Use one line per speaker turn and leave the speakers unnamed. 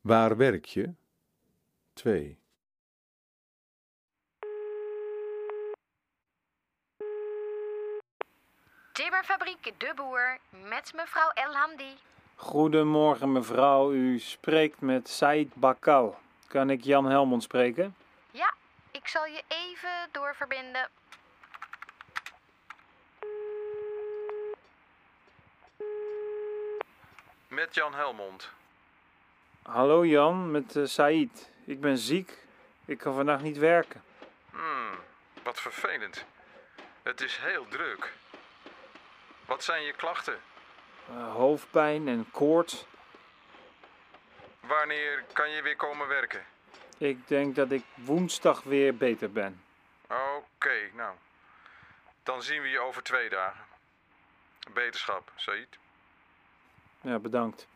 Waar werk je? 2.
Timmerfabriek De Boer met mevrouw Elhamdi.
Goedemorgen mevrouw, u spreekt met Said Bakal. Kan ik Jan Helmond spreken?
Ja, ik zal je even doorverbinden.
Met Jan Helmond.
Hallo Jan, met eh, Said. Ik ben ziek. Ik kan vandaag niet werken.
Hmm, wat vervelend. Het is heel druk. Wat zijn je klachten?
Eh, hoofdpijn en koorts.
Wanneer kan je weer komen werken?
Ik denk dat ik woensdag weer beter ben.
Oké, nou. Dan zien we je over twee dagen. Beterschap, Said.
Ja, bedankt.